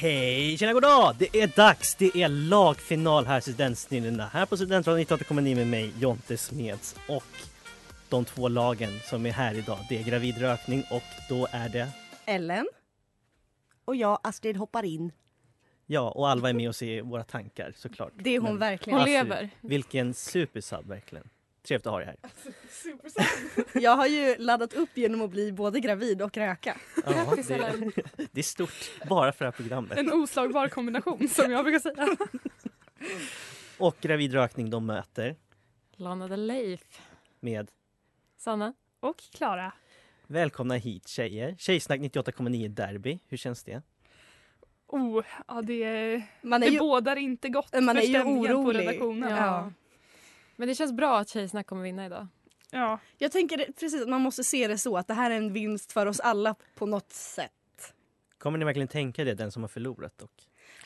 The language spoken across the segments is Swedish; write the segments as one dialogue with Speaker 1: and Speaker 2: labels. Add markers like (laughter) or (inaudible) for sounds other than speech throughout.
Speaker 1: Hej, tjena, god dag! Det är dags, det är lagfinal här Studentsnillena här på Studentradion 98,9 med mig Jonte Smeds och de två lagen som är här idag. Det är gravidrökning och då är det
Speaker 2: Ellen. Och jag, Astrid, hoppar in.
Speaker 1: Ja, och Alva är med oss i våra tankar såklart.
Speaker 2: Det är hon
Speaker 1: Men
Speaker 2: verkligen.
Speaker 1: Astrid, Vilken supersub verkligen. Trevligt att ha dig här.
Speaker 2: Jag har ju laddat upp genom att bli både gravid och röka.
Speaker 1: Ja,
Speaker 3: Grattis,
Speaker 1: det,
Speaker 3: Ellen.
Speaker 1: det är stort, bara för det här programmet.
Speaker 3: En oslagbar kombination som jag brukar säga.
Speaker 4: (laughs)
Speaker 1: Och gravidrökning de möter
Speaker 3: Lana the Leif.
Speaker 1: med
Speaker 3: Sanna. Och Klara.
Speaker 1: Välkomna hit tjejer. Tjejsnack 98,9 derby. Hur känns det?
Speaker 3: Oh, ja, det, är-
Speaker 2: Man
Speaker 3: det
Speaker 2: är ju,
Speaker 3: bådar inte gott
Speaker 2: man är
Speaker 3: för
Speaker 2: ju
Speaker 3: stämningen på
Speaker 2: orolig.
Speaker 3: redaktionen.
Speaker 2: Ja.
Speaker 4: Men det känns bra att Tjejsnack kommer vinna idag.
Speaker 3: Ja.
Speaker 2: jag tänker det- precis att man måste se det så att det här är en vinst för oss alla på något sätt.
Speaker 1: Kommer ni verkligen tänka det, den som har förlorat dock?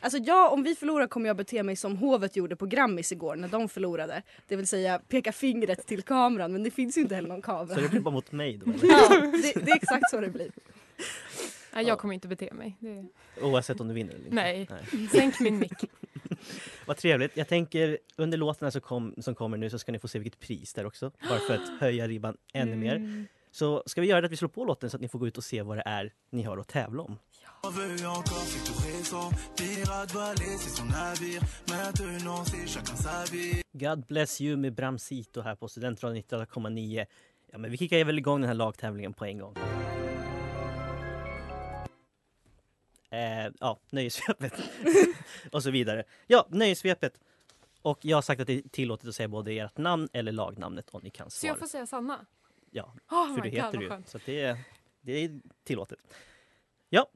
Speaker 2: Alltså jag, om vi förlorar kommer jag bete mig som hovet gjorde på Grammis igår när de förlorade. Det vill säga peka fingret till kameran men det finns ju inte heller någon
Speaker 1: (laughs)
Speaker 2: kamera.
Speaker 1: Så det blir bara mot mig då? eller?
Speaker 2: Ja, (laughs) det, det är exakt så det blir.
Speaker 4: Nej,
Speaker 1: Ja.
Speaker 4: jag kommer inte bete mig. Det...
Speaker 1: Oavsett om du vinner eller inte?
Speaker 4: Nej. Sänk
Speaker 3: (laughs)
Speaker 4: min mick.
Speaker 1: Vad trevligt. Jag tänker under låtarna som, kom, som kommer nu så ska ni få se vilket pris där också. Bara för att höja ribban ännu mer.
Speaker 3: Mm.
Speaker 1: Så ska vi göra det att vi slår på låten så att ni får gå ut och se vad det är ni har att tävla om.
Speaker 5: On veut encore, c'est tout récent. Pirate Valley, c'est son navire. Maintenant, c'est chacun sa vie.
Speaker 1: God bless you med Bramsito här på Studentradion 98,9. Ja, men vi kickar väl igång den här lagtävlingen på en gång. Eh, ja, nöjessvepet. (laughs) och så vidare. Ja, nöjessvepet. Och jag har sagt att det är tillåtet att säga både ert namn eller lagnamnet om ni kan
Speaker 4: Så
Speaker 1: svara.
Speaker 4: jag får säga Sanna?
Speaker 1: Ja,
Speaker 4: Oh
Speaker 1: för det
Speaker 4: my God,
Speaker 1: heter
Speaker 4: vad
Speaker 1: du.
Speaker 4: skönt.
Speaker 1: Så att det, är, det är tillåtet. Ja,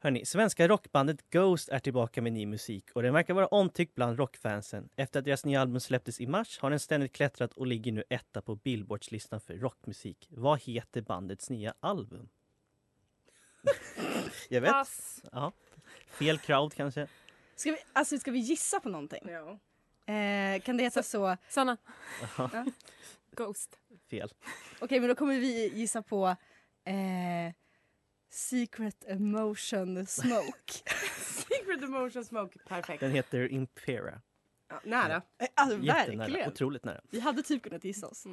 Speaker 1: hörni. Svenska rockbandet Ghost är tillbaka med ny musik och den verkar vara omtyckt bland rockfansen. Efter att deras nya album släpptes i mars har den ständigt klättrat och ligger nu etta på Billboardslistan för rockmusik. Vad heter bandets nya album?
Speaker 4: (laughs)
Speaker 1: Jag vet.
Speaker 3: Pass.
Speaker 1: Ja. Fel crowd kanske.
Speaker 2: Ska vi, alltså ska vi gissa på någonting? Eh, kan det heta så?
Speaker 4: Sanna?
Speaker 1: Ja,
Speaker 4: Ghost.
Speaker 1: fel.
Speaker 2: Okej, men då kommer vi gissa på eh, Secret Emotion Smoke.
Speaker 6: Secret Emotion Smoke. Perfekt.
Speaker 1: Den heter Impera.
Speaker 2: nära. (laughs) Alltså,
Speaker 1: Jättenära.
Speaker 2: verkligen.
Speaker 1: Otroligt nära.
Speaker 2: Vi hade typ kunnat gissa oss.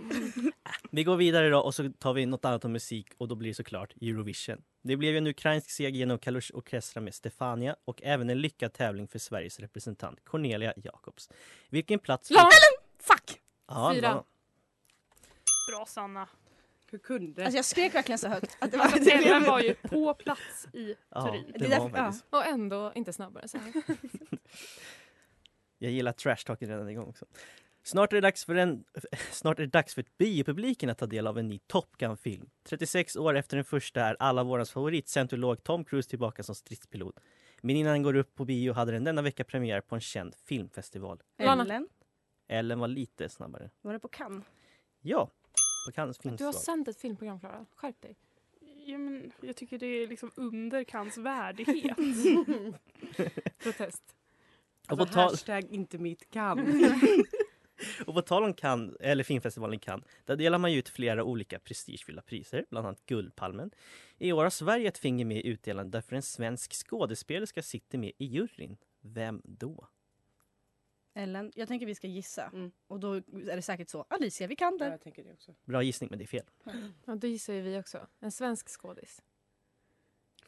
Speaker 1: Vi går vidare då och så tar vi något annat om musik och då blir det såklart Eurovision. Det blev ju en ukrainsk seger genom Kalush Orkestra med Stefania och även en lyckad tävling för Sveriges representant Cornelia Jacobs. Vilken plats...
Speaker 4: Lana!
Speaker 2: Fuck!
Speaker 1: Ja,
Speaker 4: Fyra.
Speaker 1: Lana.
Speaker 3: Bra Sanna.
Speaker 6: Hur kunde?
Speaker 2: Alltså, jag skrek verkligen så högt. (laughs) Att det var,
Speaker 3: Fast
Speaker 2: det
Speaker 3: Alltså, Ellen
Speaker 2: blev,
Speaker 3: var ju på plats i
Speaker 1: Ja,
Speaker 3: Turin.
Speaker 1: det,
Speaker 2: Det är
Speaker 1: var
Speaker 2: därför-
Speaker 1: faktiskt.
Speaker 4: Och ändå inte snabbare. Så här.
Speaker 1: Jag gillar trashtalken redan igång också. Snart är, det dags för en, (laughs) snart är det dags för biopubliken att ta del av en ny Top Gun-film. 36 år efter den första är alla vårans favoritcentrolog Tom Cruise tillbaka som stridspilot. Men innan den går upp på bio hade den denna vecka premiär på en känd filmfestival.
Speaker 4: Lana.
Speaker 2: Ellen,
Speaker 1: Ellen var lite snabbare.
Speaker 2: var det på Cannes?
Speaker 1: Ja, på Cannes finns
Speaker 4: Du har
Speaker 1: val.
Speaker 4: sänt ett filmprogram, Klara. Skärp dig.
Speaker 3: Ja, men jag tycker det är liksom under Kans (laughs)
Speaker 2: (laughs)
Speaker 3: värdighet.
Speaker 4: Protest.
Speaker 1: och, på tal,
Speaker 6: hashtag inte mitt
Speaker 7: (laughs)
Speaker 6: kam.
Speaker 1: och på tal om Cannes, eller filmfestivalen i Cannes, där delar man ju ut flera olika prestigefyllda priser, bland annat Guldpalmen. I år har Sverige ett finger med i utdelandet därför en svensk skådespelerska sitter med i juryn. Vem då?
Speaker 2: Ellen, jag tänker vi ska gissa.
Speaker 6: Mm.
Speaker 2: Och då är det säkert så. Alicia Vikander.
Speaker 6: jag tänker det också.
Speaker 1: Bra gissning, men det är fel.
Speaker 4: Ja, då gissar ju vi också. En svensk skådis.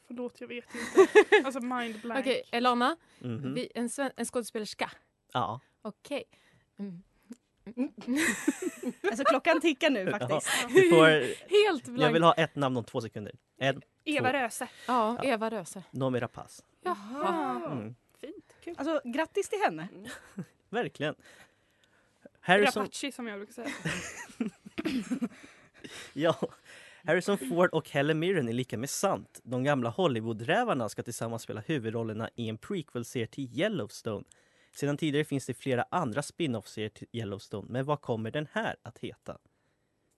Speaker 3: Förlåt, jag vet
Speaker 2: (laughs)
Speaker 3: inte. Alltså mind blank.
Speaker 4: Okej, Elana.
Speaker 1: Mhm.
Speaker 4: Vi, en, sven- en skådespelerska.
Speaker 1: Ja.
Speaker 4: Okej. Mm.
Speaker 2: Alltså klockan tickar nu faktiskt.
Speaker 1: Du får,
Speaker 4: Helt blank.
Speaker 1: jag vill ha ett namn om två sekunder. En,
Speaker 3: Eva Röse.
Speaker 4: Ja, Eva Röse.
Speaker 1: Noomi Rapace.
Speaker 4: Jaha.
Speaker 1: Mm.
Speaker 3: Fint. Kul.
Speaker 2: Alltså grattis till henne.
Speaker 1: Verkligen. Harrison,
Speaker 3: Rapace som jag brukar säga.
Speaker 1: Ja, Harrison Ford och Helen Mirren är lika med sant. De gamla Hollywoodrävarna ska tillsammans spela huvudrollerna i en prequel-serie till Yellowstone. Sedan tidigare finns det flera andra spin-off-serier till Yellowstone, men vad kommer den här att heta?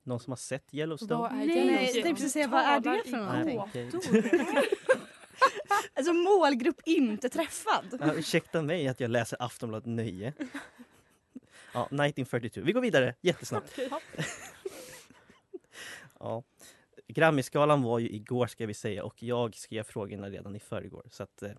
Speaker 1: Någon som har sett Yellowstone?
Speaker 4: Vad är
Speaker 2: Nej,
Speaker 4: Yellowstone?
Speaker 2: jag tänkte precis säga, vad är det för
Speaker 1: Nej,
Speaker 2: någonting?
Speaker 1: okej.
Speaker 2: Alltså målgrupp inte träffad.
Speaker 1: (laughs) Ja, ursäkta mig att jag läser Aftonbladet Nöje. Ja, 1942. Vi går vidare jättesnabbt. (laughs) Ja. Grammyskalan var ju igår ska vi säga och jag skrev frågorna redan i förrgår. Så att, eh,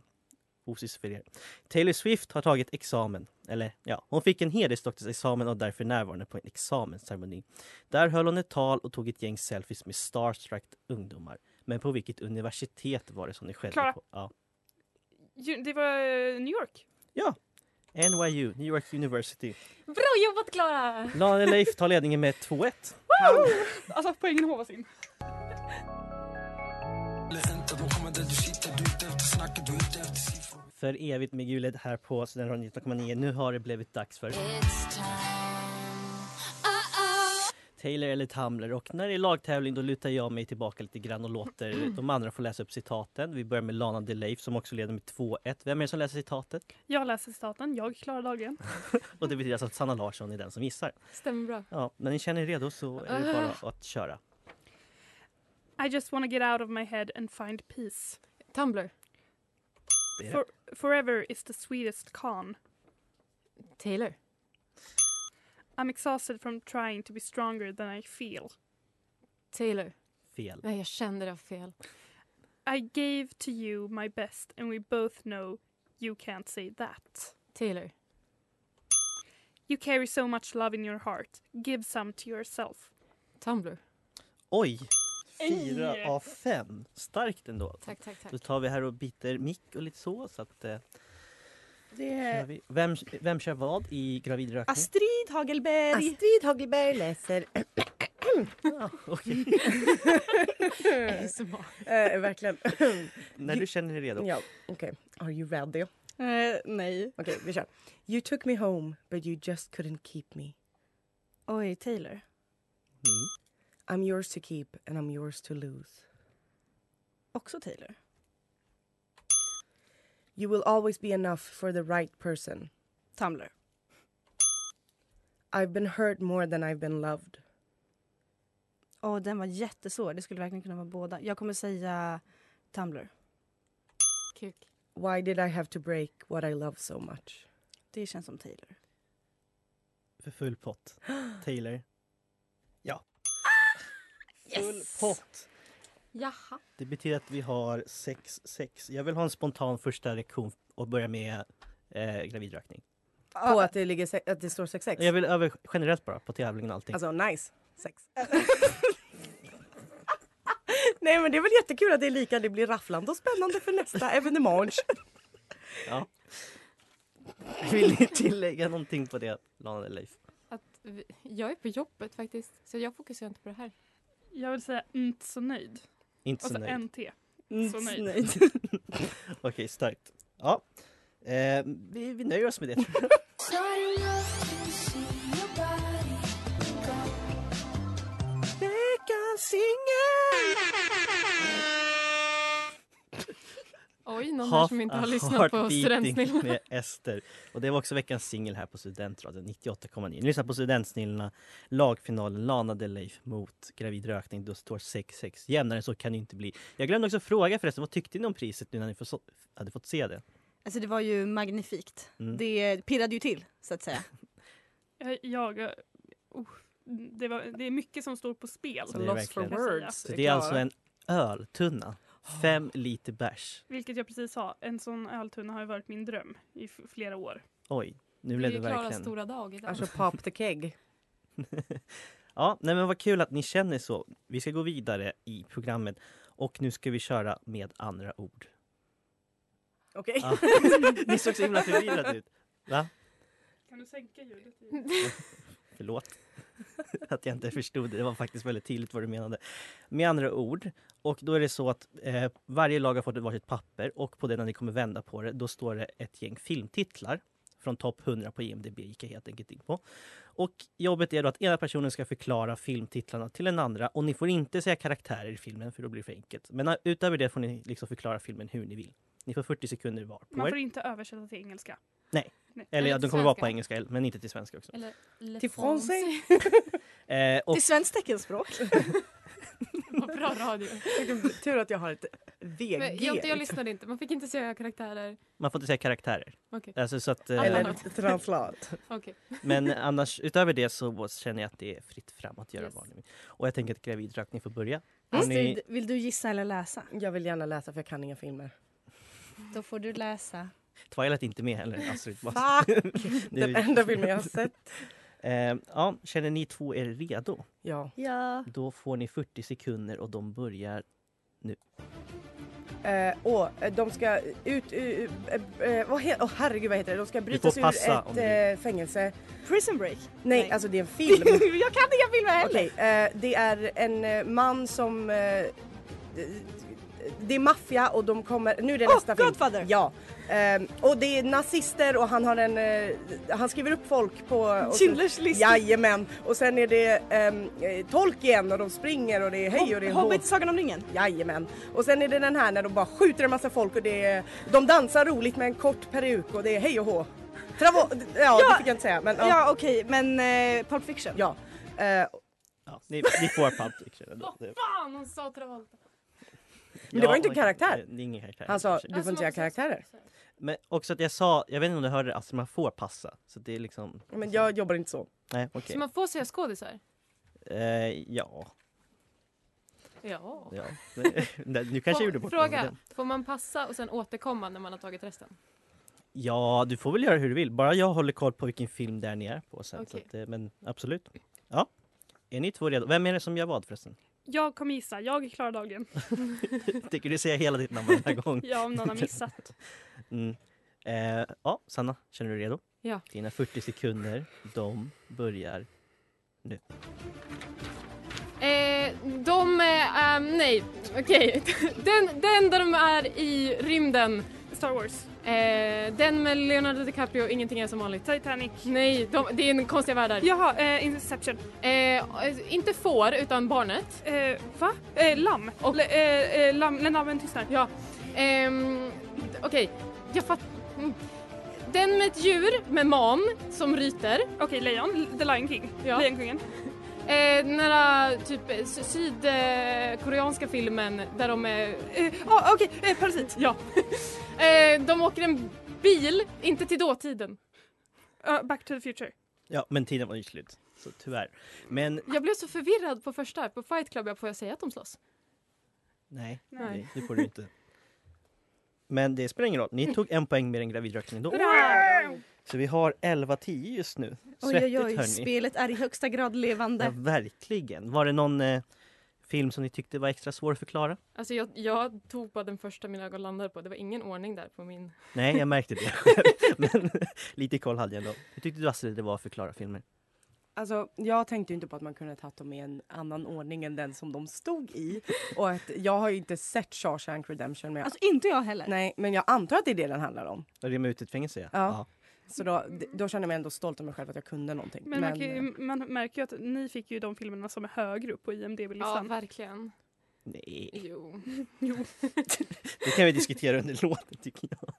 Speaker 1: osis för er. Taylor Swift har tagit examen. Eller ja, hon fick en hedersdoktorsexamen och därför närvarande på en examensceremoni. Där höll hon ett tal och tog ett gäng selfies med starstruck ungdomar. Men på vilket universitet var det som det skedde?
Speaker 3: Klara.
Speaker 1: På? Ja.
Speaker 3: Ju- Det var eh, New York.
Speaker 1: NYU, New York University.
Speaker 4: Bra jobbat Klara!
Speaker 1: Lane Leif tar ledningen med 2-1.
Speaker 3: Alltså poängen håvas in.
Speaker 1: För evigt med gulet här på Studentradion 19,9. Nu har det blivit dags för Taylor eller Tamler och när det är lagtävling då lutar jag mig tillbaka lite grann och låter de andra få läsa upp citaten. Vi börjar med Lana Del Leif som också leder med 2-1. Vem är det som läser citatet?
Speaker 3: Jag läser staten, jag klarar dagen.
Speaker 1: Och det betyder alltså att Sanna Larsson är den som gissar.
Speaker 4: Stämmer bra. Ah.
Speaker 1: Ja, när ni känner er redo så är det bara att köra.
Speaker 3: I just wanna get out of my head and find peace.
Speaker 4: Tumblr.
Speaker 1: Det är
Speaker 3: For, forever is the sweetest con.
Speaker 4: Taylor.
Speaker 3: I'm exhausted from trying to be stronger than I feel.
Speaker 4: Taylor.
Speaker 1: fel.
Speaker 4: Nej, jag kände det var fel.
Speaker 3: I gave to you my best and we both know you can't say that.
Speaker 4: Taylor.
Speaker 3: You carry so much love in your heart. Give some to yourself.
Speaker 4: Tumblr.
Speaker 1: Oj! 4 av 5. Starkt ändå.
Speaker 4: Tack, tack, tack.
Speaker 1: Då tar vi här och biter mick och lite så. så att, eh, kör
Speaker 2: Det...
Speaker 1: vi. Vem, vem kör vad i gravidrökning?
Speaker 2: Astrid Hagelberg. (laughs)
Speaker 7: Astrid Hagelberg läser...
Speaker 1: (laughs) Ja,
Speaker 4: (laughs)
Speaker 1: okej.
Speaker 4: ASMR.
Speaker 7: Eh, verkligen.
Speaker 1: När du känner dig redo.
Speaker 7: ja, okej. Are you ready? Okej,
Speaker 2: Eh, nej.
Speaker 7: vi kör. You took me home, but you just couldn't keep me.
Speaker 2: Oj, Taylor.
Speaker 1: Mm.
Speaker 7: I'm yours to keep and I'm yours to lose.
Speaker 2: Också Taylor.
Speaker 7: You will always be enough for the right person.
Speaker 2: Tumblr.
Speaker 7: I've been hurt more than I've been loved.
Speaker 2: Åh, den var jättesvår. Det skulle verkligen kunna vara båda. Jag kommer säga Tumblr.
Speaker 4: Kuk.
Speaker 7: Why did I have to break what I love so much?
Speaker 2: Det känns som Taylor.
Speaker 1: För full pott. Taylor. Ja.
Speaker 4: Ah!
Speaker 1: Full pott.
Speaker 4: Jaha.
Speaker 1: Det betyder att vi har 6-6. Jag vill ha en spontan första reaktion och börja med eh, gravidrökning.
Speaker 7: På
Speaker 6: Ah.
Speaker 7: att det, ligger se- att det står 6-6?
Speaker 1: Jag vill över generellt bara på tävlingen och allting.
Speaker 7: Alltså nice, sex. (laughs) Nej men det är väl jättekul att det är lika, det blir rafflande och spännande för nästa evenemang.
Speaker 1: Ja. (laughs) Vill ni tillägga någonting på det, Lana eller Leif?
Speaker 4: Att vi, jag är på jobbet faktiskt, så jag fokuserar inte på det här.
Speaker 3: Jag vill säga inte så nöjd.
Speaker 1: Inte
Speaker 3: Och
Speaker 6: Alltså,
Speaker 1: så
Speaker 3: så
Speaker 1: nöjd.
Speaker 3: NT. (laughs) Så
Speaker 2: Mm,
Speaker 3: nöjd.
Speaker 2: nöjd.
Speaker 1: Okej, starkt. Ja. Eh, vi, vi nöjer oss med det. tror jag.
Speaker 4: Oj, någon här
Speaker 1: Half
Speaker 4: som inte har
Speaker 1: a
Speaker 4: lyssnat
Speaker 1: Heart
Speaker 4: på
Speaker 1: Beating
Speaker 4: Studentsnillena.
Speaker 1: med Ester. Och det var också veckans singel här på Studentradion 98,9. Ni lyssnar på Studentsnillena, lagfinalen Lana Del Leif mot Gravid Rökning. Då står 6-6. Jämnare så kan det inte bli. Jag glömde också fråga förresten, vad tyckte ni om priset nu när ni förså- hade fått se det?
Speaker 2: (laughs) Alltså det var ju magnifikt.
Speaker 1: Mm.
Speaker 2: Det pirrade ju till så att säga.
Speaker 3: Jag, jag eh, oh, det, var, det är mycket som står på spel.
Speaker 1: Så det är Lost
Speaker 3: kan
Speaker 1: verkligen-
Speaker 3: jag säga.
Speaker 1: Så det är alltså en öltunna. Fem
Speaker 4: Ah.
Speaker 1: liter bärs.
Speaker 3: Vilket jag precis sa, en sån öltunna har ju varit min dröm i f- flera år.
Speaker 1: Oj, nu
Speaker 4: Det är
Speaker 1: blev det
Speaker 4: ju Klaras
Speaker 1: verkligen...
Speaker 4: stora dag idag.
Speaker 7: Alltså pop the keg.
Speaker 1: (laughs) Ja, nej men vad kul att ni känner så. Vi ska gå vidare i programmet och nu ska vi köra med andra ord.
Speaker 7: Okej.
Speaker 1: (laughs) Ja. Ah. Ni såg så himla förvirrade ut. Va?
Speaker 3: Kan du sänka ljudet?
Speaker 1: Förlåt (laughs) att jag inte förstod det. Det var faktiskt väldigt tydligt vad du menade. Med andra ord, och då är det så att eh, varje lag har fått ett varsitt papper och på det när ni kommer vända på det, då står det ett gäng filmtitlar från topp 100 på IMDB gick jag helt enkelt in på. Och jobbet är då att ena personen ska förklara filmtitlarna till den andra och ni får inte säga karaktärer i filmen för då blir det för enkelt. Men eh, utöver det får ni liksom förklara filmen hur ni vill. Ni får 40 sekunder var på
Speaker 3: Man får
Speaker 1: er.
Speaker 3: inte översätta till engelska.
Speaker 1: Eller ja,
Speaker 4: Eller
Speaker 1: de kommer vara på
Speaker 4: svenska.
Speaker 1: engelska men inte till svenska också.
Speaker 4: Eller Le
Speaker 7: Till
Speaker 4: Francais.
Speaker 7: (laughs)
Speaker 1: Eh, och
Speaker 2: Det är svenskt teckenspråk.
Speaker 4: Vad bra
Speaker 1: (laughs)
Speaker 4: radio.
Speaker 7: Tur att jag har ett
Speaker 4: Men
Speaker 7: VG.
Speaker 4: jag, jag lyssnade inte. Man fick inte säga karaktärer.
Speaker 1: man får inte säga karaktärer.
Speaker 4: Okej.
Speaker 1: Alltså, så att, eh,
Speaker 7: Eller translat.
Speaker 4: Okej.
Speaker 1: Men annars, utöver det så känner jag att det är fritt fram att göra
Speaker 4: Yes.
Speaker 1: vad ni vill. Och jag tänker att gravidrökning får börja.
Speaker 7: Mm.
Speaker 1: Har ni,
Speaker 2: Astrid,
Speaker 7: Alltså,
Speaker 2: vill du gissa eller läsa?
Speaker 7: Jag vill gärna läsa för jag kan inga filmer.
Speaker 2: Då får du läsa.
Speaker 1: Twilight är inte med heller, Astrid.
Speaker 7: Fuck!
Speaker 1: Nu-
Speaker 7: Den enda filmen jag har sett.
Speaker 1: (laughs) eh, ja, känner ni två er redo?
Speaker 7: Ja.
Speaker 2: Ja.
Speaker 1: Då får ni 40 sekunder och de börjar...
Speaker 7: Eh, åh, de ska ut... Uh, vad he- åh, herregud, vad heter det? De ska brytas
Speaker 1: får
Speaker 7: ur
Speaker 1: passa om
Speaker 7: ett
Speaker 1: du-
Speaker 7: eh, fängelse.
Speaker 2: Prison break.
Speaker 7: Nej,
Speaker 2: Nej.
Speaker 7: alltså det är
Speaker 2: (laughs)
Speaker 7: en film.
Speaker 2: jag kan inga filmer heller!
Speaker 7: Okej, eh, det är en eh, man som... eh, d- det är maffia och de kommer... Nu är det
Speaker 2: Åh,
Speaker 7: nästa film.
Speaker 2: Godfather!
Speaker 7: Ja. Ehm, och det är nazister och han har en... eh, han skriver upp folk på... och så-
Speaker 2: Schindler's list.
Speaker 7: Jajamän! Och sen är det ehm, eh, Tolkien och de springer och det är hej och det är hå.
Speaker 2: Hobbit, Sagan om ringen.
Speaker 7: Jajamän! Och sen är det den här när de bara skjuter en massa folk och det är, de dansar roligt med en kort peruk och det är hej och hå. Travo, ja, det fick jag inte säga men
Speaker 2: Ja,
Speaker 7: ja.
Speaker 2: okej, men eh, Pulp Fiction.
Speaker 7: ja. Eh,
Speaker 1: Ja, ni, ni får Pulp Fiction ändå. Det-
Speaker 4: Fan, hon Ah, sa Travolta.
Speaker 7: Men det var inte en
Speaker 1: och-
Speaker 7: karaktär.
Speaker 1: Det är ingen karaktär.
Speaker 7: han sa du
Speaker 4: Alltså,
Speaker 7: får
Speaker 4: man
Speaker 7: inte säga
Speaker 4: måste säga
Speaker 7: karaktärer.
Speaker 1: Men också att jag sa, jag vet inte om du hörde Astrid, man får passa. Så det är liksom...
Speaker 7: Men jag jobbar inte så.
Speaker 1: Nej, okej.
Speaker 4: Så man får säga skådisar?
Speaker 1: Eh, ja,
Speaker 4: Ja.
Speaker 1: ja. (laughs) Nej, nu kanske jag gjorde
Speaker 4: Får-
Speaker 1: bort mig med
Speaker 4: Fråga,
Speaker 1: den.
Speaker 4: får man passa och sen återkomma när man har tagit resten?
Speaker 1: Ja, du får väl göra hur du vill. Bara jag håller koll på vilken film där ni är på sen. Så
Speaker 4: Okej.
Speaker 1: att, eh, men absolut. Ja. Är ni två redo? Vem är det som gör vad förresten? (laughs)
Speaker 3: Jag kommer gissa. Jag klarar
Speaker 4: (laughs)
Speaker 3: dagen.
Speaker 1: Tycker du säga hela ditt namn den här gången?
Speaker 3: Ja, om någon har missat.
Speaker 1: Mm. Eh, ja, Sanna, känner du dig redo?
Speaker 4: Ja.
Speaker 1: Dina 40 sekunder, de börjar...
Speaker 4: Eh, de, eh, ehm, nej, okej. (laughs) Den, den där de är i rymden,
Speaker 3: Star Wars.
Speaker 4: eh, den med Leonardo DiCaprio, ingenting är som vanligt.
Speaker 3: Titanic.
Speaker 4: Nej, de, det är en konstiga värld där.
Speaker 3: Jaha, eh, Inception.
Speaker 4: Eh, eh, inte får, utan barnet.
Speaker 3: Eh, va? Eh, lamm.
Speaker 4: Och-
Speaker 3: Le, eh, eh, lamm. När lammen tystnar.
Speaker 4: Ja. Ehm, d- okej, jag fattar. Mm. Den med ett djur med man som ryter.
Speaker 3: Okej, lejon. The Lion King.
Speaker 4: Ja.
Speaker 3: Lejonkungen.
Speaker 4: Eh, den där typ eh, sy- sydkoreanska filmen där de är...
Speaker 3: Eh, ah, Okej, eh, Parasit.
Speaker 4: Ja. (laughs) eh, de åker en bil, inte till dåtiden.
Speaker 3: Ja, back to the Future.
Speaker 1: Ja, men tiden var ju slut. Så tyvärr. Men
Speaker 4: Jag blev så förvirrad på första. På Fight Club jag får jag säga att de slåss?
Speaker 1: nej,
Speaker 3: Nej.
Speaker 1: nej, det får du inte. Men det spelar ingen roll. Ni tog en poäng mer än gravidrökning då. Så vi har 11-10 just nu.
Speaker 2: Oj,
Speaker 1: Svettigt
Speaker 2: oj, oj.
Speaker 1: hörni.
Speaker 2: Spelet är i högsta grad
Speaker 1: Ja,
Speaker 2: levande.
Speaker 1: verkligen. Var det någon eh, film som ni tyckte var extra svår att förklara?
Speaker 4: Alltså jag, jag tog bara den första mina ögon landade på. Det var ingen ordning där på min...
Speaker 1: Nej, jag märkte
Speaker 2: (laughs)
Speaker 1: det själv. Men lite koll hade jag ändå. Hur tyckte du Astrid det var att förklara filmer?
Speaker 7: Alltså, jag tänkte ju inte på att man kunde tagit dem i en annan ordning än den som de stod i. Och att jag har ju inte sett Shawshank Redemption. Men jag,
Speaker 2: Alltså inte jag heller.
Speaker 7: nej, men jag antar att det är det den handlar om.
Speaker 1: Ja, Det med ut i ett fängelse ja.
Speaker 7: Ja. Så då, då känner jag mig ändå stolt över mig själv att jag kunde någonting.
Speaker 3: Men, man, kan ju, man märker ju att ni fick ju de filmerna som är högre upp på
Speaker 4: Ja,
Speaker 3: IMDB-listan.
Speaker 4: verkligen.
Speaker 1: Nej,
Speaker 4: Jo.
Speaker 1: det kan vi diskutera under låten tycker jag.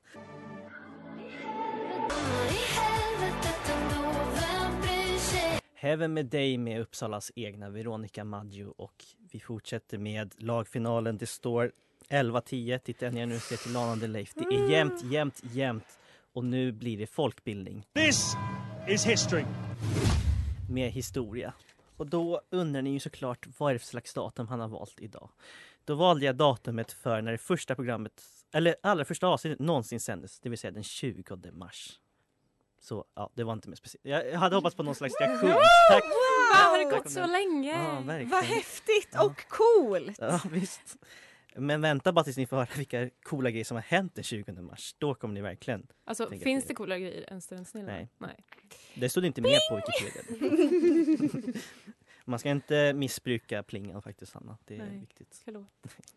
Speaker 1: Heaven med dig med Uppsalas egna Veronica Maggio och vi fortsätter med lagfinalen. Det står 11-10. Tittar jag ner nu ser jag till Lana Leif. Det är jämnt, jämnt, jämnt och nu blir det folkbildning.
Speaker 8: This is history.
Speaker 1: med historia. Och då undrar ni ju såklart vad är det för slags datum han har valt idag. Då valde jag datumet för när det första programmet, eller allra första avsnittet någonsin sändes, det vill säga den 20 mars. Så ja, det var inte mer speciellt. Jag jag hade hoppats på någon slags reaktion. Tack!
Speaker 4: Fan, har det
Speaker 1: Tack
Speaker 4: gått
Speaker 1: om
Speaker 4: så
Speaker 1: den.
Speaker 4: länge?
Speaker 1: Ja, verkligen.
Speaker 2: Vad häftigt
Speaker 1: Ja.
Speaker 2: och coolt!
Speaker 1: Ja, visst. Men vänta bara tills ni får höra vilka coola grejer som har hänt den 20 mars. Då kommer ni verkligen.
Speaker 4: Alltså,
Speaker 1: Tänker
Speaker 4: finns
Speaker 1: att
Speaker 4: det
Speaker 1: det-
Speaker 4: coolare grejer än Stön snälla?
Speaker 1: Nej.
Speaker 4: Nej.
Speaker 1: Det stod inte med på Wikipedia. Man ska inte missbruka plingan faktiskt, Hanna. Det är
Speaker 4: Nej.
Speaker 1: viktigt.
Speaker 4: Förlåt.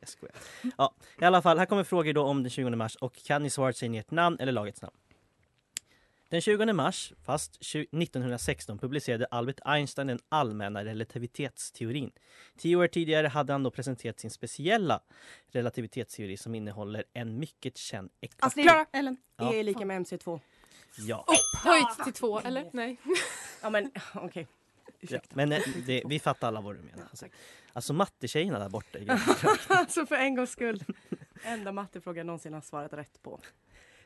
Speaker 1: Jag skojar. Ja, I alla fall, här kommer frågor då om den 20 mars och kan ni svaret säger ni ert namn eller lagets namn. Den 20 mars, fast 20- 1916, publicerade Albert Einstein den allmänna relativitetsteorin. Tio år tidigare hade han då presenterat sin speciella relativitetsteori som innehåller en mycket känd ekvation.
Speaker 7: Astrid,
Speaker 2: Klara.
Speaker 7: Ellen,
Speaker 1: Ja.
Speaker 7: E är lika med MC2.
Speaker 1: Ja.
Speaker 4: Höjt till två, eller? Nej.
Speaker 7: Ja men (laughs) okej.
Speaker 1: Ja, men eh, det, vi fattar alla vad du menar. Alltså, alltså mattetjejerna där borta.
Speaker 7: (laughs) Alltså för en gångs skull. Enda mattefråga jag någonsin har svarat rätt på.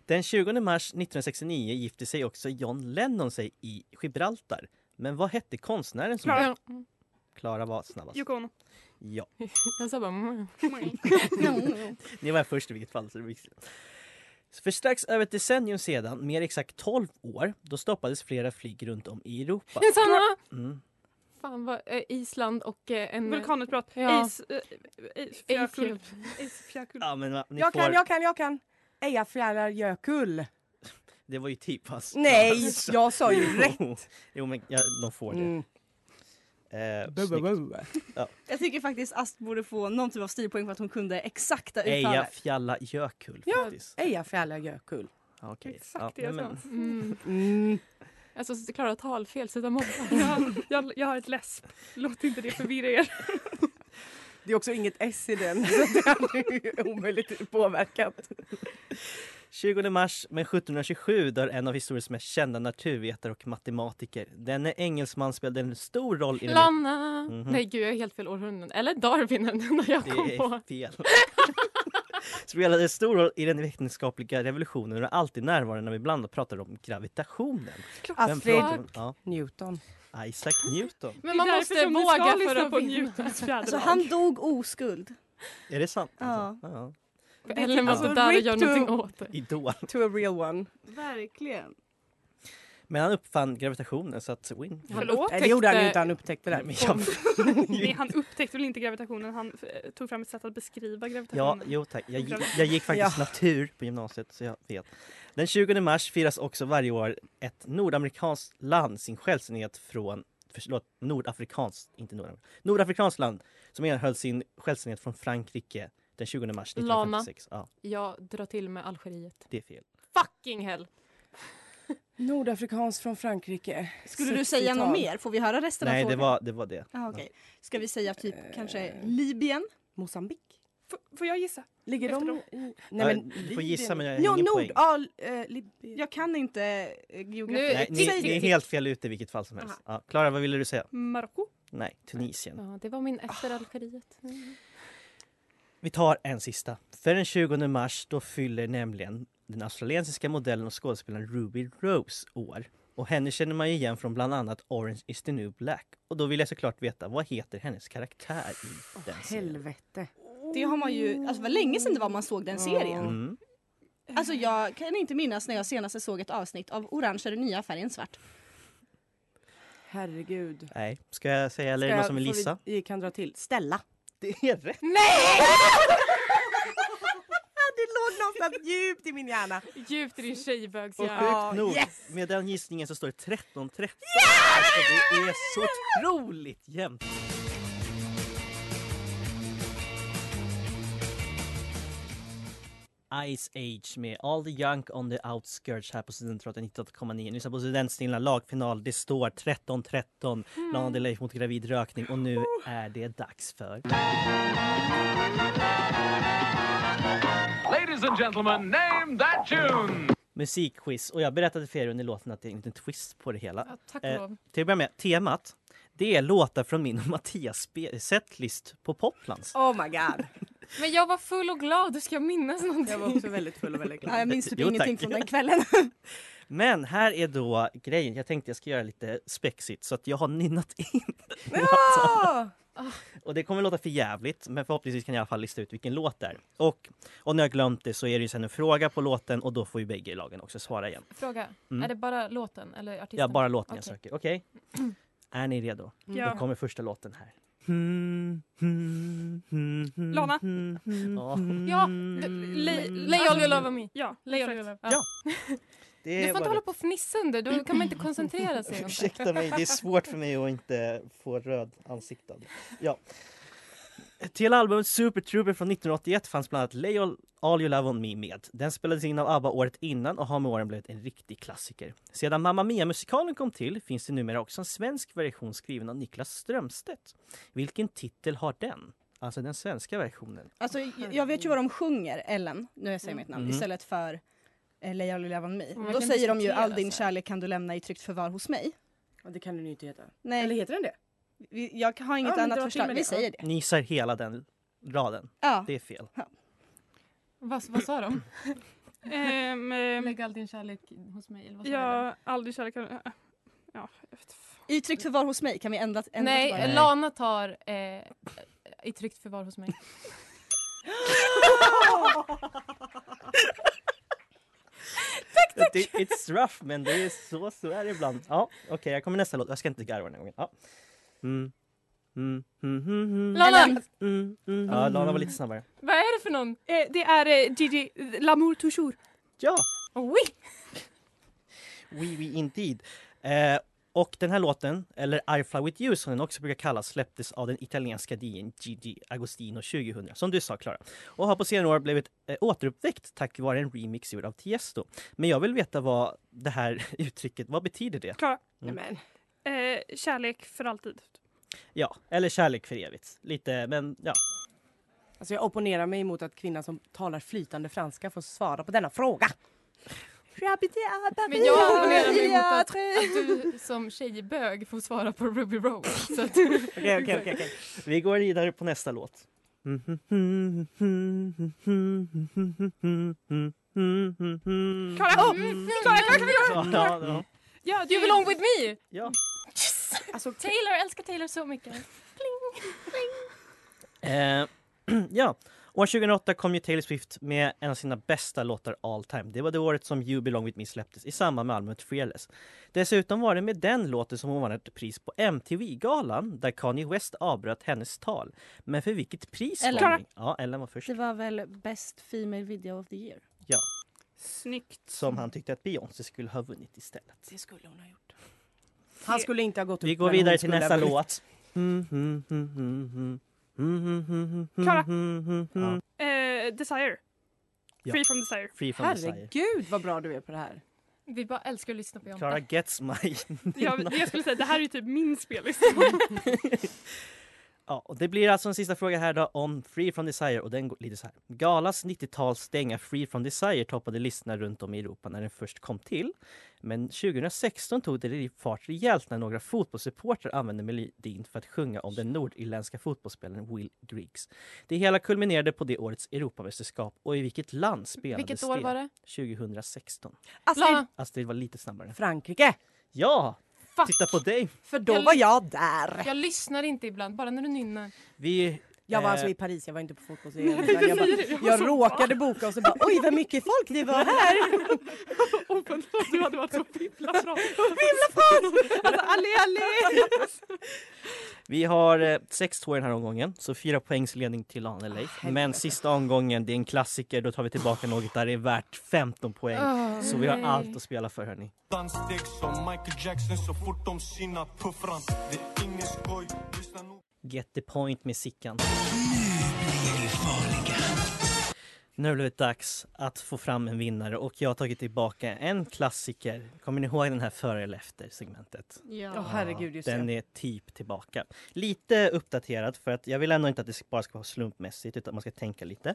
Speaker 1: Den 20 mars 1969 gifte sig också John Lennon sig i Gibraltar. Men vad hette konstnären som...
Speaker 3: Klara.
Speaker 1: Klara var snabbast.
Speaker 3: Yoko
Speaker 4: (laughs)
Speaker 3: Ono.
Speaker 1: Ja,
Speaker 4: Jag sa bara... mm.
Speaker 1: ni var först i vilket fall. Så det var viktigt. För strax över ett decennium sedan, mer exakt 12 år, då stoppades flera flyg runt om i
Speaker 7: (laughs)
Speaker 1: Europa.
Speaker 4: Men Sanna!
Speaker 1: Mm.
Speaker 4: Fan, vad, eh, Island och eh, en...
Speaker 3: Vulkanutbrott.
Speaker 4: Ja.
Speaker 3: Is... eh, is-
Speaker 4: Eiffel.
Speaker 3: fjärrkull. Is- fjärrkull.
Speaker 1: Ja, men va, ni
Speaker 7: Jag
Speaker 1: får,
Speaker 7: kan, jag kan, jag kan. Eyjafjallajökull.
Speaker 1: Det var ju typ pass. (laughs)
Speaker 7: Nej, (laughs) jag sa ju rätt.
Speaker 1: Jo, men ja, de får det.
Speaker 7: Mm.
Speaker 1: Eh,
Speaker 7: Bu, bu,
Speaker 1: snyggt.
Speaker 7: bu.
Speaker 2: Jag tycker faktiskt Ast borde få någon typ av stilpoäng för att hon kunde exakta uttalet.
Speaker 1: Eyjafjallajökull faktiskt.
Speaker 7: Eyjafjallajökull.
Speaker 1: Ja, okej.
Speaker 3: Exakt det
Speaker 1: Ja,
Speaker 3: jag
Speaker 1: men-
Speaker 3: sa.
Speaker 4: Mm.
Speaker 7: Mm.
Speaker 4: Alltså, så Klara talfel, sluta mobba.
Speaker 3: Jag, jag, jag har ett läsp. Låt inte det förvirra er.
Speaker 7: Det är också inget S i den, (laughs) så det hade ju omöjligt påverkat.
Speaker 1: 20 mars men 1727 dör en av historiens mest kända naturvetare och matematiker. Denne engelsman spelade en stor roll i den...
Speaker 4: Lana!
Speaker 1: Mhm.
Speaker 4: Nej gud, jag är helt fel århundrade. Eller Darwin, (laughs) när jag
Speaker 1: Det
Speaker 4: kom på.
Speaker 1: är fel. (laughs) spelade en stor roll i den vetenskapliga revolutionen och är alltid närvarande när vi bland annat pratar om gravitationen. Vem
Speaker 7: Astrid
Speaker 1: pratar om- Ja,
Speaker 7: Newton.
Speaker 1: Isaac Newton.
Speaker 4: Men
Speaker 3: Det
Speaker 4: man
Speaker 3: är därför
Speaker 4: måste
Speaker 3: som ni ska
Speaker 4: våga för
Speaker 3: lyssna
Speaker 4: att
Speaker 3: på
Speaker 4: vinna.
Speaker 3: Newtons fjärdelag.
Speaker 2: Alltså han dog oskuld.
Speaker 1: Är det sant?
Speaker 2: Ja.
Speaker 1: Ja, ja.
Speaker 4: För Ellen var
Speaker 1: Alltså,
Speaker 4: inte där och
Speaker 7: rip
Speaker 4: gör
Speaker 7: to-
Speaker 4: någonting åt det.
Speaker 1: Idol.
Speaker 7: To a real one.
Speaker 2: Verkligen.
Speaker 1: Men han uppfann gravitationen så att win.
Speaker 3: Förlåt?
Speaker 7: Nej, det gjorde han ju inte, han upptäckte det.
Speaker 1: Men (laughs) jag-
Speaker 3: Nej, han upptäckte väl inte gravitationen, han eh, tog fram ett sätt att beskriva
Speaker 1: Ja,
Speaker 3: gravitationen.
Speaker 1: jo tack. Jag, gick- jag gick faktiskt natur på gymnasiet så jag vet. Den 20 mars firas också varje år ett nordamerikanskt land sin självständighet från Förlåt, nordafrikanskt, inte nordafrikanskt, nordafrikanskt land som erhöll sin självständighet från Frankrike den 20 mars
Speaker 4: Lama.
Speaker 1: 1956. Ja,
Speaker 4: Jag drar till med Algeriet.
Speaker 1: det är fel.
Speaker 4: Fucking hell!
Speaker 7: Nordafrikansk från Frankrike.
Speaker 2: Skulle du säga något mer? Får vi höra resten
Speaker 1: Nej,
Speaker 2: av
Speaker 1: det
Speaker 2: frågan?
Speaker 1: var det. Var det.
Speaker 2: Ah, okej. Ska vi säga typ
Speaker 7: Eh.
Speaker 2: kanske Libyen?
Speaker 7: Mosambik?
Speaker 3: F- får jag gissa?
Speaker 7: Ligger
Speaker 3: Efter
Speaker 7: de
Speaker 3: dem.
Speaker 7: i...
Speaker 1: Ja, du får gissa men jag har
Speaker 7: Jo,
Speaker 1: ingen
Speaker 7: Nord,
Speaker 1: poäng.
Speaker 7: ja, eh, Libyen.
Speaker 2: Jag kan inte eh, geografi.
Speaker 4: Nu-
Speaker 1: Nej, ni,
Speaker 4: Säg
Speaker 1: ni är
Speaker 4: det.
Speaker 1: helt fel ute i vilket fall som helst. Ja, Klara, vad ville du säga?
Speaker 3: Marocko?
Speaker 1: Nej, Tunisien.
Speaker 4: Ja, det var min
Speaker 1: Ah,
Speaker 4: efter Algeriet.
Speaker 1: Vi tar en sista. För den 20 mars då fyller nämligen den australiensiska modellen och skådespelaren Ruby Rose år. Och henne känner man ju igen från bland annat Orange is the new black. Och då vill jag såklart veta, vad heter hennes karaktär i den serien?
Speaker 7: Helvete.
Speaker 2: Det har man ju, alltså det var länge sedan det var man såg den serien.
Speaker 1: Mm.
Speaker 2: Alltså jag kan inte minnas när jag senast såg ett avsnitt av Orange är den nya färgen svart.
Speaker 7: Herregud.
Speaker 1: Nej, ska jag säga eller är det någon som vill gissa?
Speaker 7: Eh, Vi, vi kan dra till. Stella.
Speaker 1: (laughs) Det är rätt!
Speaker 7: Det låg någonstans djupt i min hjärna.
Speaker 4: Djupt i din
Speaker 1: Och
Speaker 4: tjejbögshjärna.
Speaker 1: sjukt nog, med den gissningen så står det 13-13. Alltså, det är så otroligt jämnt! Ice Age med All the Junk on the Outskirts här på Studentradion 98,9. Ni lyssnar på Studentsnilla lagfinal. Det står 13-13. Lana Del Rey mot gravid rökning och nu är det dags för...
Speaker 9: Ladies and gentlemen, name that tune!
Speaker 1: musikquiz och jag berättade för er under låten att det är en liten twist på det hela.
Speaker 4: Ja, tack och lov.
Speaker 1: Eh, till att börja med, temat det är låtar från min och Mattias spe- setlist på Poplands.
Speaker 7: Oh my god.
Speaker 4: Men jag var full och glad, du ska jag minnas någonting.
Speaker 7: Jag var också väldigt full och väldigt glad.
Speaker 2: Ja, jag minns typ
Speaker 1: Jo,
Speaker 2: ingenting
Speaker 1: tack. (laughs)
Speaker 2: från den kvällen.
Speaker 1: Men här är då grejen, jag tänkte jag ska göra lite spexigt så att jag har nynnat in
Speaker 7: Ah!
Speaker 1: och det kommer låta för jävligt men förhoppningsvis kan jag i alla fall lista ut vilken låt det är. Och om ni har glömt det så är det ju sen en fråga på låten och då får ju bägge lagen också svara igen.
Speaker 4: Fråga,
Speaker 1: Mm.
Speaker 4: är det bara låten eller artisten?
Speaker 1: Ja, bara låten jag
Speaker 4: Okej.
Speaker 1: söker.
Speaker 4: (clears throat)
Speaker 1: Okej? Är ni redo? Då
Speaker 3: Ja.
Speaker 1: kommer första låten här.
Speaker 3: Lana.
Speaker 1: Lana. (laughs) Ja,
Speaker 4: Ja,
Speaker 1: Mm.
Speaker 4: Le- Lejon, you love me.
Speaker 3: Ja,
Speaker 4: Lejon, you
Speaker 3: exakt.
Speaker 4: love me.
Speaker 1: Alltså, Ja,
Speaker 4: Du
Speaker 1: det
Speaker 4: får
Speaker 1: var
Speaker 4: inte hålla
Speaker 1: det.
Speaker 4: på och fnissa
Speaker 1: (clears throat)
Speaker 4: under, då kan man inte koncentrera sig.
Speaker 1: Ursäkta mig, det är svårt för mig att inte få röd ansikte av det. Ja. Till albumet Super Trooper från 1981 fanns bland annat Lay All, All You Love On Me med. Den spelades in av ABBA året innan och har med åren blivit en riktig klassiker. Sedan Mamma Mia-musikalen kom till finns det numera också en svensk version skriven av Niklas Strömstedt. Vilken titel har den? Alltså den svenska versionen.
Speaker 2: Alltså, jag- jag vet ju vad de sjunger, Ellen, nu jag säger mitt namn,
Speaker 1: Mm.
Speaker 2: istället för eh, Leia Love Me.
Speaker 4: man
Speaker 2: Då
Speaker 4: kan
Speaker 2: säger de ju all
Speaker 4: diskutera
Speaker 2: din
Speaker 4: så
Speaker 2: kärlek kan du lämna i tryggt förvar hos mig.
Speaker 7: Ja, det kan den ju inte heta.
Speaker 2: Nej,
Speaker 7: Eller heter den det?
Speaker 2: vi- jag har inget
Speaker 7: Ja, men
Speaker 2: annat
Speaker 7: dra till
Speaker 2: förslag.
Speaker 7: med
Speaker 2: Vi
Speaker 7: det, ja.
Speaker 2: säger det.
Speaker 1: Ni gissar hela den raden.
Speaker 2: Ja.
Speaker 1: Det är fel.
Speaker 4: Vad, vad sa (laughs) de?
Speaker 3: Ehm, ehm,
Speaker 4: Lägg all din kärlek hos mig eller vad sa de?
Speaker 3: ja, aldrig kärlek. eh, kan- Ja, jag vet fan.
Speaker 2: I tryggt förvar hos mig kan vi ändra, ändra
Speaker 4: Nej,
Speaker 2: tillbaka.
Speaker 1: Nej.
Speaker 4: Lana tar eh, i tryggt förvar hos (laughs) mig.
Speaker 1: Det, it's rough men det är så, så är det ibland. Ja, okej jag kommer nästa låt. Jag ska inte garva den här gången. Ja. Mm. Mm. Mm. Mm. Mm.
Speaker 4: Lana,
Speaker 1: Mm. Mm. Ja, Lana var lite snabbare.
Speaker 4: vad är det för någon?
Speaker 3: Eh, det är eh, Gigi Lamour Toujours.
Speaker 1: Ja!
Speaker 4: Oui.
Speaker 1: We We Indeed. Eh, och den här låten, eller I Fly With You som den också brukar kallas, släpptes av den italienska DJn Gigi Agostino 2000, som du sa Klara. Och har på senare år blivit eh, återuppväckt tack vare en remix gjord av Tiesto. Men jag vill veta vad det här (laughs) uttrycket, vad betyder det?
Speaker 3: Klara.
Speaker 1: Mm.
Speaker 7: Men.
Speaker 3: Eh, kärlek för alltid.
Speaker 1: Ja, eller kärlek för evigt. Lite, men ja.
Speaker 7: Alltså jag opponerar mig emot att kvinnan som talar flytande franska får svara på denna fråga.
Speaker 4: Men jag opponerar mig mot att, att du som tjejbög får svara på Ruby Rose. (laughs) Så att,
Speaker 7: Okej, okej, okej. okej.
Speaker 1: (laughs) Vi går vidare på nästa låt. Mm.
Speaker 3: Klara! Klara, Klara, Klara!
Speaker 1: Ja, ja, ja.
Speaker 3: Ja,
Speaker 4: you belong with me!
Speaker 1: ja.
Speaker 7: Alltså,
Speaker 4: Taylor, jag älskar Taylor så mycket.
Speaker 1: Eh, (clears throat) ja. År 2008 kom ju Taylor Swift med en av sina bästa låtar all time. Det var det året som You Belong With Me släpptes i samband med albumet Fearless. Dessutom var det med den låten som hon vann ett pris på MTV-galan där Kanye West avbröt hennes tal. Men för vilket pris?
Speaker 2: Ellen.
Speaker 1: var det? Ja, Ellen var först.
Speaker 2: Det var väl Best Female Video of the Year?
Speaker 3: Snyggt.
Speaker 1: Som han tyckte att Beyoncé skulle ha vunnit istället.
Speaker 2: Det skulle hon ha gjort.
Speaker 7: han skulle inte ha gått upp.
Speaker 1: Vi går
Speaker 7: men hon
Speaker 1: vidare till
Speaker 7: skulle ha
Speaker 1: nästa
Speaker 7: blivit-
Speaker 1: låt. Mm,
Speaker 3: Klara.
Speaker 1: mm, Ja.
Speaker 3: Eh, desire.
Speaker 1: Ja.
Speaker 3: Free from
Speaker 1: (laughs)
Speaker 3: desire.
Speaker 1: Free from Desire.
Speaker 7: Herregud vad bra du är på det här.
Speaker 4: Vi bara älskar att lyssna på Jonte.
Speaker 1: Klara gets my...
Speaker 3: Jag, jag skulle säga det här är ju typ min spellista.
Speaker 1: (laughs) Ja, och det blir alltså en sista fråga här då om Free from Desire och den går lite så här. Galas 90-tals stänga Free from Desire toppade listorna runt om i Europa när den först kom till. Men 2016 tog det fart rejält när några fotbollssupportrar använde melodin för att sjunga om den nordirländska fotbollsspelaren Will Griggs. Det hela kulminerade på det årets Europamästerskap och i vilket land spelades
Speaker 4: Vilket år
Speaker 1: det?
Speaker 4: var det?
Speaker 1: 2016.
Speaker 7: Alltså-
Speaker 4: Lana,
Speaker 1: Astrid var lite snabbare.
Speaker 7: Frankrike!
Speaker 1: Ja!
Speaker 4: fuck.
Speaker 1: Titta på dig!
Speaker 7: För då
Speaker 4: Jag-
Speaker 7: var jag där.
Speaker 4: Jag lyssnar inte ibland, bara när du nynnar.
Speaker 1: Vi...
Speaker 7: Jag var
Speaker 1: eh,
Speaker 7: alltså i Paris, jag var inte på fotbolls jag, bara- jag råkade boka och så bara oj vad mycket folk det var här.
Speaker 3: du hade varit så himla bra.
Speaker 1: Vi har eh, sex två i den här omgången, så fyra poängs ledning till Lana Del Rey. Men sista omgången, det är en klassiker, då tar vi tillbaka något där det är värt 15 poäng.
Speaker 4: Åh,
Speaker 1: så vi har
Speaker 4: nej.
Speaker 1: allt att spela för hörni.
Speaker 5: Danssteg som Michael Jackson så fort de synar puffran. Det är ingen skoj, lyssna noga.
Speaker 1: Get the point med Sickan. Nu blir det dags att få fram en vinnare och jag har tagit tillbaka en klassiker. Kommer ni ihåg den här före eller efter segmentet?
Speaker 7: Åh herregud just
Speaker 1: Den
Speaker 7: det.
Speaker 1: är typ tillbaka. Lite uppdaterad för att jag vill ändå inte att det bara ska vara slumpmässigt utan man ska tänka lite.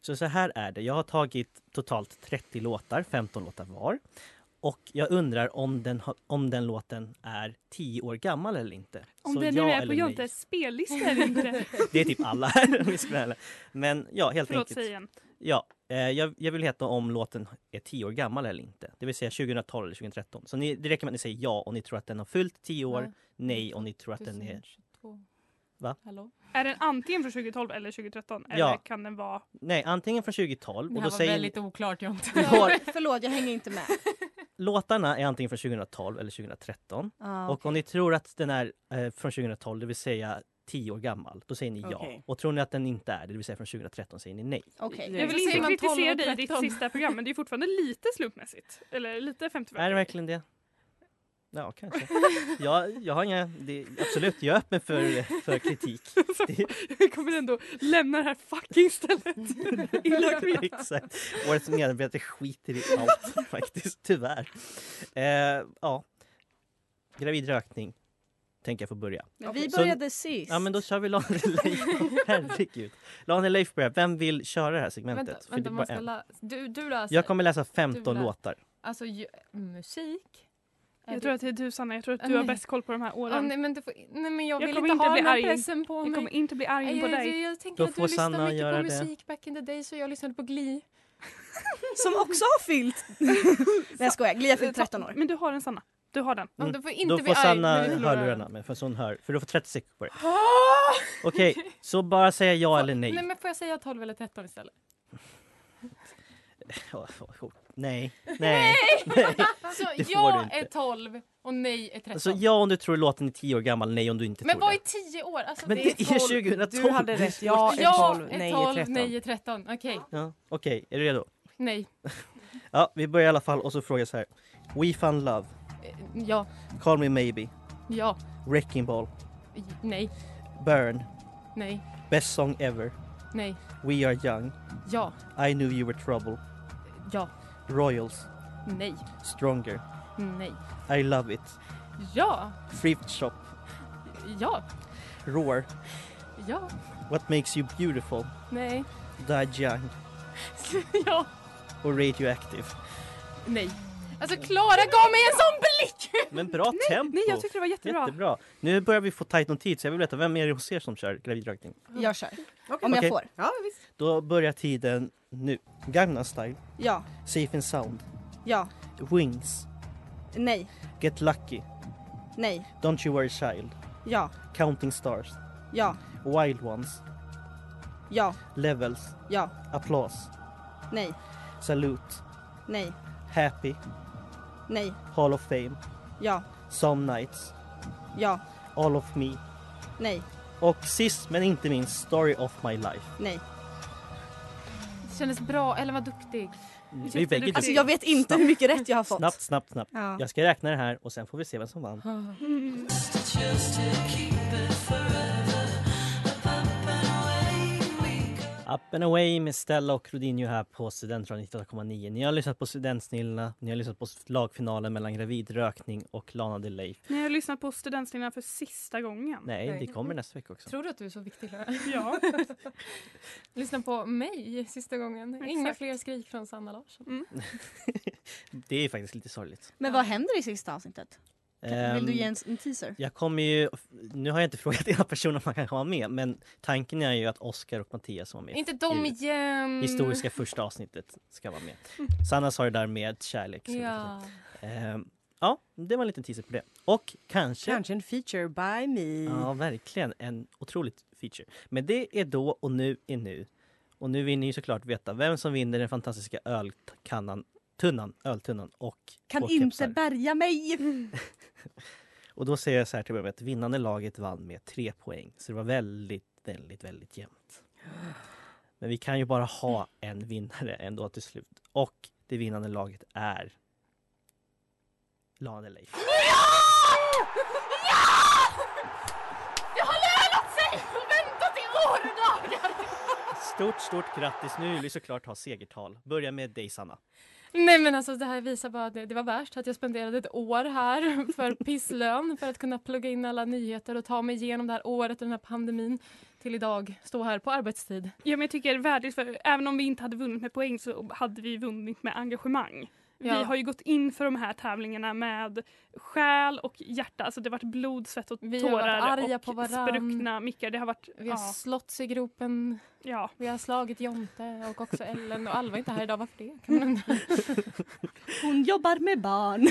Speaker 1: Så så här är det. Jag har tagit totalt 30 låtar, 15 låtar var. Och jag undrar om den, har- om den låten är 10 år gammal eller inte.
Speaker 3: Om
Speaker 1: Så
Speaker 3: den
Speaker 1: ja
Speaker 3: nu är
Speaker 1: eller
Speaker 3: på
Speaker 1: nej.
Speaker 3: Jontes spellista eller
Speaker 1: (laughs)
Speaker 3: inte.
Speaker 1: Det är typ alla här om vi ska vara ärliga. Men ja, helt
Speaker 3: Förlåt,
Speaker 1: enkelt.
Speaker 3: säg igen.
Speaker 1: Ja, eh, jag, jag vill veta om låten är 10 år gammal eller inte. Det vill säga 2012 eller 2013. Så ni, det räcker med att ni säger ja om ni tror att den har fyllt 10 år.
Speaker 4: Ja.
Speaker 1: Nej om ni tror att den är...
Speaker 4: 2022.
Speaker 1: Va?
Speaker 4: Hallå?
Speaker 3: Är den antingen från 2012 eller 2013? Eller
Speaker 1: Ja.
Speaker 3: kan den vara...
Speaker 1: Nej, antingen från 2012.
Speaker 4: Det
Speaker 1: Och då
Speaker 4: här var
Speaker 1: säger
Speaker 4: väldigt oklart Jonte.
Speaker 1: Lår-
Speaker 2: Förlåt, jag hänger inte med.
Speaker 1: Låtarna är antingen från 2012 eller 2013.
Speaker 4: Ah,
Speaker 1: Och om ni tror att den är eh, från 2012, det vill säga 10 år gammal, då säger ni ja.
Speaker 7: Okej.
Speaker 1: Och tror ni att den inte är det, det vill säga från 2013, säger ni nej.
Speaker 2: Okej.
Speaker 3: Jag vill
Speaker 4: Så säger
Speaker 3: inte
Speaker 4: man 12
Speaker 3: kritisera
Speaker 4: och
Speaker 3: dig i ditt
Speaker 4: 13.
Speaker 3: sista program men det är fortfarande lite slumpmässigt. Eller lite 50
Speaker 1: Är det verkligen det? Ja, kanske. Jag, jag har inga, det, absolut, jag är öppen för,
Speaker 10: (laughs)
Speaker 1: för kritik. Det,
Speaker 10: Jag kommer ändå lämna det här fucking stället.
Speaker 1: (laughs)
Speaker 10: Illa kvickt.
Speaker 1: exakt. Årets medarbetare skiter i
Speaker 10: (laughs)
Speaker 1: allt faktiskt, tyvärr. Eh, ja. Gravid rökning tänker jag få börja.
Speaker 2: Men vi
Speaker 1: Så-
Speaker 2: började sist.
Speaker 1: Ja men då kör vi Lane Leif.
Speaker 10: (laughs)
Speaker 1: Herregud. Lane Leif börjar. Vem vill köra det här segmentet?
Speaker 4: Vänta,
Speaker 1: För det
Speaker 4: vänta
Speaker 1: är
Speaker 4: man
Speaker 1: bara
Speaker 4: ska
Speaker 1: en.
Speaker 4: la- du, du läser.
Speaker 1: Jag kommer läsa
Speaker 4: Du
Speaker 1: 15
Speaker 4: lä-
Speaker 1: låtar.
Speaker 4: Alltså ju, musik? Är
Speaker 3: Jag
Speaker 4: det-
Speaker 3: tror att det är du Sanna, jag tror att
Speaker 4: Ah,
Speaker 3: du har
Speaker 4: nej.
Speaker 3: bäst koll på de här åren.
Speaker 4: Ah, nej, men du får, nej men jag,
Speaker 3: Jag
Speaker 4: vill
Speaker 3: kommer
Speaker 4: inte,
Speaker 3: inte
Speaker 4: ha
Speaker 3: bli
Speaker 4: den här
Speaker 3: arg.
Speaker 4: pressen på
Speaker 3: jag
Speaker 4: mig.
Speaker 3: kommer inte bli
Speaker 4: Nej,
Speaker 3: arg på
Speaker 4: jag, jag,
Speaker 3: dig.
Speaker 4: jag tänker
Speaker 1: Då
Speaker 4: att du
Speaker 1: får
Speaker 4: lyssnar
Speaker 1: Sanna
Speaker 4: mycket
Speaker 1: göra
Speaker 4: på
Speaker 1: det.
Speaker 4: musik back in the day så jag lyssnade på Glee.
Speaker 2: Som också har fyllt. Nej jag skojar, Glia fyllt 13 år.
Speaker 3: Men du har den Sanna, du har den.
Speaker 4: Ja,
Speaker 1: Mm.
Speaker 4: Du får inte
Speaker 1: Då
Speaker 4: bli
Speaker 1: får
Speaker 4: arg
Speaker 1: Sanna
Speaker 4: när vi förlorar den.
Speaker 1: hörlurarna med, för så hon hör. För du får 30 sekunder på det. Okej, så bara säga ja eller nej.
Speaker 4: men får jag säga 12 eller 13 istället?
Speaker 1: Ja, oh, Nej, nej.
Speaker 4: Alltså
Speaker 1: Det får du
Speaker 4: ja
Speaker 1: inte.
Speaker 4: är 12 och nej är 13.
Speaker 1: Alltså ja om du tror låten är 10 år gammal, nej om du inte
Speaker 4: men
Speaker 1: tror
Speaker 4: vad
Speaker 1: det.
Speaker 4: är 10 år? Alltså,
Speaker 1: Men det är 2012!
Speaker 11: Du hade rätt, ja är
Speaker 4: Ja
Speaker 11: 12,
Speaker 4: är
Speaker 11: nej
Speaker 4: 12,
Speaker 11: är 13.
Speaker 4: nej är 13. Okej,
Speaker 1: Ja, Okej, är du redo?
Speaker 4: nej.
Speaker 1: Ja, vi börjar i alla fall och så frågar jag så här. We found love,
Speaker 4: Eh, Ja,
Speaker 1: Call me maybe,
Speaker 4: ja,
Speaker 1: Wrecking ball,
Speaker 4: nej,
Speaker 1: Burn,
Speaker 4: nej,
Speaker 1: Best song ever,
Speaker 4: nej,
Speaker 1: We are young,
Speaker 4: ja,
Speaker 1: I knew you were trouble,
Speaker 4: ja,
Speaker 1: Royals,
Speaker 4: nej,
Speaker 1: Stronger,
Speaker 4: nej,
Speaker 1: I love it,
Speaker 4: ja,
Speaker 1: Thrift shop,
Speaker 4: ja,
Speaker 1: Roar,
Speaker 4: ja,
Speaker 1: What makes you beautiful,
Speaker 4: nej,
Speaker 1: Die young
Speaker 4: (laughs) ja,
Speaker 1: och Radioactive.
Speaker 4: nej. Alltså Klara gav mig en sån blick!
Speaker 1: Men bra tempo!
Speaker 3: Nej jag tyckte det var jättebra.
Speaker 1: Jättebra! Nu börjar vi få tajt om tid så jag vill veta vem är det hos er som kör gravidrökning?
Speaker 2: Jag kör. Om jag
Speaker 1: Okej.
Speaker 2: får.
Speaker 7: Ja, visst.
Speaker 1: Då börjar tiden nu. Gangnam style,
Speaker 2: Ja,
Speaker 1: Safe and sound,
Speaker 2: ja,
Speaker 1: Wings,
Speaker 2: nej,
Speaker 1: Get lucky,
Speaker 2: nej,
Speaker 1: Don't you worry child,
Speaker 2: ja,
Speaker 1: Counting stars,
Speaker 2: ja,
Speaker 1: Wild ones,
Speaker 2: ja,
Speaker 1: Levels,
Speaker 2: ja,
Speaker 1: Applause,
Speaker 2: nej,
Speaker 1: Salute,
Speaker 2: nej,
Speaker 1: Happy,
Speaker 2: nej,
Speaker 1: Hall of fame,
Speaker 2: ja,
Speaker 1: Some nights,
Speaker 2: ja,
Speaker 1: All of me
Speaker 2: nej,
Speaker 1: och sist men inte minst Story of my life.
Speaker 2: nej.
Speaker 4: Det kändes bra, Ellen var duktig.
Speaker 1: Vi bägge
Speaker 2: Alltså jag vet inte hur mycket rätt jag har fått.
Speaker 1: Snabbt, snabbt, snabbt.
Speaker 2: Ja.
Speaker 1: Jag ska räkna det här och sen får vi se vem som vann. Up and away med Stella och Rodinho här på Studentradion 98,9. Ni har lyssnat på Studentsnillena, ni har lyssnat på lagfinalen mellan Gravidrökning och Lana Del Rey.
Speaker 3: Ni har lyssnat på Studentslingan för sista gången.
Speaker 1: Nej,
Speaker 4: Nej.
Speaker 1: det kommer nästa vecka också.
Speaker 4: Tror du att du är så viktig Klara?
Speaker 3: Liksom. (laughs) Ja.
Speaker 4: (laughs) Lyssna på mig sista gången. Inga
Speaker 3: Exakt. Mm,
Speaker 4: fler skrik från Sanna Larsson.
Speaker 1: Det är faktiskt lite sorgligt.
Speaker 2: Men vad händer i sista avsnittet? Vill du
Speaker 1: Ehm,
Speaker 2: ge en, en teaser?
Speaker 1: Jag kommer ju, nu har jag inte (laughs) frågat era personer om man kan vara med, men tanken är ju att Oscar och Mattias som var med
Speaker 4: Inte dem
Speaker 1: i
Speaker 4: igen!
Speaker 1: historiska första avsnittet ska vara med. Sanna sa det där med kärlek. så-
Speaker 4: (laughs) Ja.
Speaker 1: Ehm, ja, det var en liten teaser på det. Och kanske,
Speaker 7: Kanske en feature by me.
Speaker 2: Mm.
Speaker 1: ja verkligen, en otroligt feature. Men det är då och nu är nu. Och nu vill ni ju såklart veta vem som vinner den fantastiska ölkannan, tunnan, öltunnan och
Speaker 2: Kan
Speaker 1: två
Speaker 2: inte
Speaker 1: kepsar.
Speaker 2: bärga mig!
Speaker 1: Och då säger jag så här till början med att vinnande laget vann med tre poäng. Så det var väldigt, väldigt, väldigt jämnt. Men vi kan ju bara ha en vinnare ändå till slut. Och det vinnande laget är Lana Del Rey.
Speaker 10: Det har lönat sig att vänta till år och dagar!
Speaker 1: Stort, stort grattis! Nu vill vi såklart ha segertal. Börja med dig Sanna.
Speaker 4: Nej men alltså det här visar bara att det, det var värst att jag spenderade ett år här (laughs) för pisslön för att kunna plugga in alla nyheter och ta mig igenom det här året och den här pandemin till idag. Stå här på arbetstid.
Speaker 3: Ja, men jag tycker det är värdigt för även om vi inte hade vunnit med poäng så hade vi vunnit med engagemang.
Speaker 4: Ja.
Speaker 3: Vi har ju gått in för de här tävlingarna med själ och hjärta. Alltså det har varit blod, svett och
Speaker 4: Vi har varit
Speaker 3: tårar
Speaker 4: arga
Speaker 3: och
Speaker 4: på varann.
Speaker 3: spruckna mickar. Det har varit...
Speaker 4: Vi har
Speaker 3: Ja,
Speaker 4: slåtts i gropen,
Speaker 3: ja.
Speaker 4: vi har slagit Jonte och också Ellen och Alva är inte här idag. Varför det? Kan man undra.
Speaker 2: Hon jobbar med barn.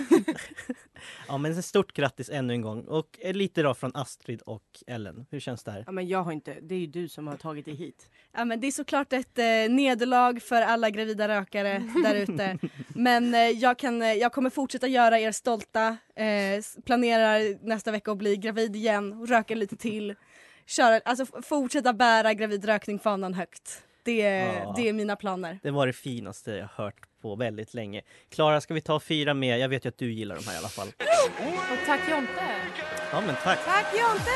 Speaker 1: Ja men så stort grattis ännu en gång. Och lite då från Astrid och Ellen. Hur känns det här?
Speaker 7: Ja, men jag har inte, det är ju du som har tagit dig hit.
Speaker 2: Ja, men det är såklart ett eh, nederlag för alla gravida rökare där ute.
Speaker 1: (laughs)
Speaker 2: Men eh, jag, kan, eh, jag kommer fortsätta göra er stolta. Eh, s- planerar nästa vecka att bli gravid igen och röka lite till. Köra, alltså, f- fortsätta bära gravid rökning-fanan högt. Det,
Speaker 1: Ja.
Speaker 2: det är mina planer.
Speaker 1: Det var det finaste jag hört på väldigt länge. Klara, ska vi ta fyra med? Jag vet ju att du gillar de här i alla fall.
Speaker 12: Och tack Jonte!
Speaker 1: Ja, men tack.
Speaker 2: Tack Jonte!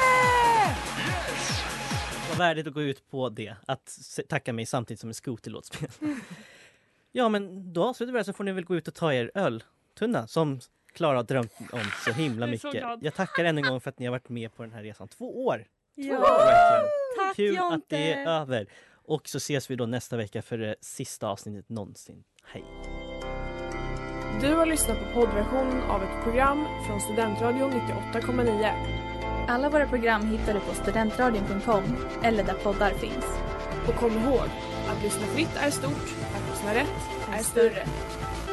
Speaker 1: Vad värdigt att gå ut på det, att se- tacka mig samtidigt som en skoterlåt spelas. ja, men då avslutar vi det så får ni väl gå ut och ta er öltunna som Klara har drömt om så himla
Speaker 3: Jag är så
Speaker 1: mycket.
Speaker 3: glad.
Speaker 1: Jag tackar ännu en gång för att ni har varit med på den här resan. Två år!
Speaker 2: Ja.
Speaker 1: Verkligen.
Speaker 2: Tack
Speaker 1: Kul
Speaker 2: Jonte!
Speaker 1: att det är över. Och så ses vi då nästa vecka för det sista avsnittet någonsin. Hej!
Speaker 6: Du har lyssnat på poddversionen av ett program från Studentradion 98,9.
Speaker 13: Alla våra program hittar du på studentradion.com eller där poddar finns.
Speaker 6: Och kom ihåg, att lyssna fritt är stort, att lyssna rätt är större.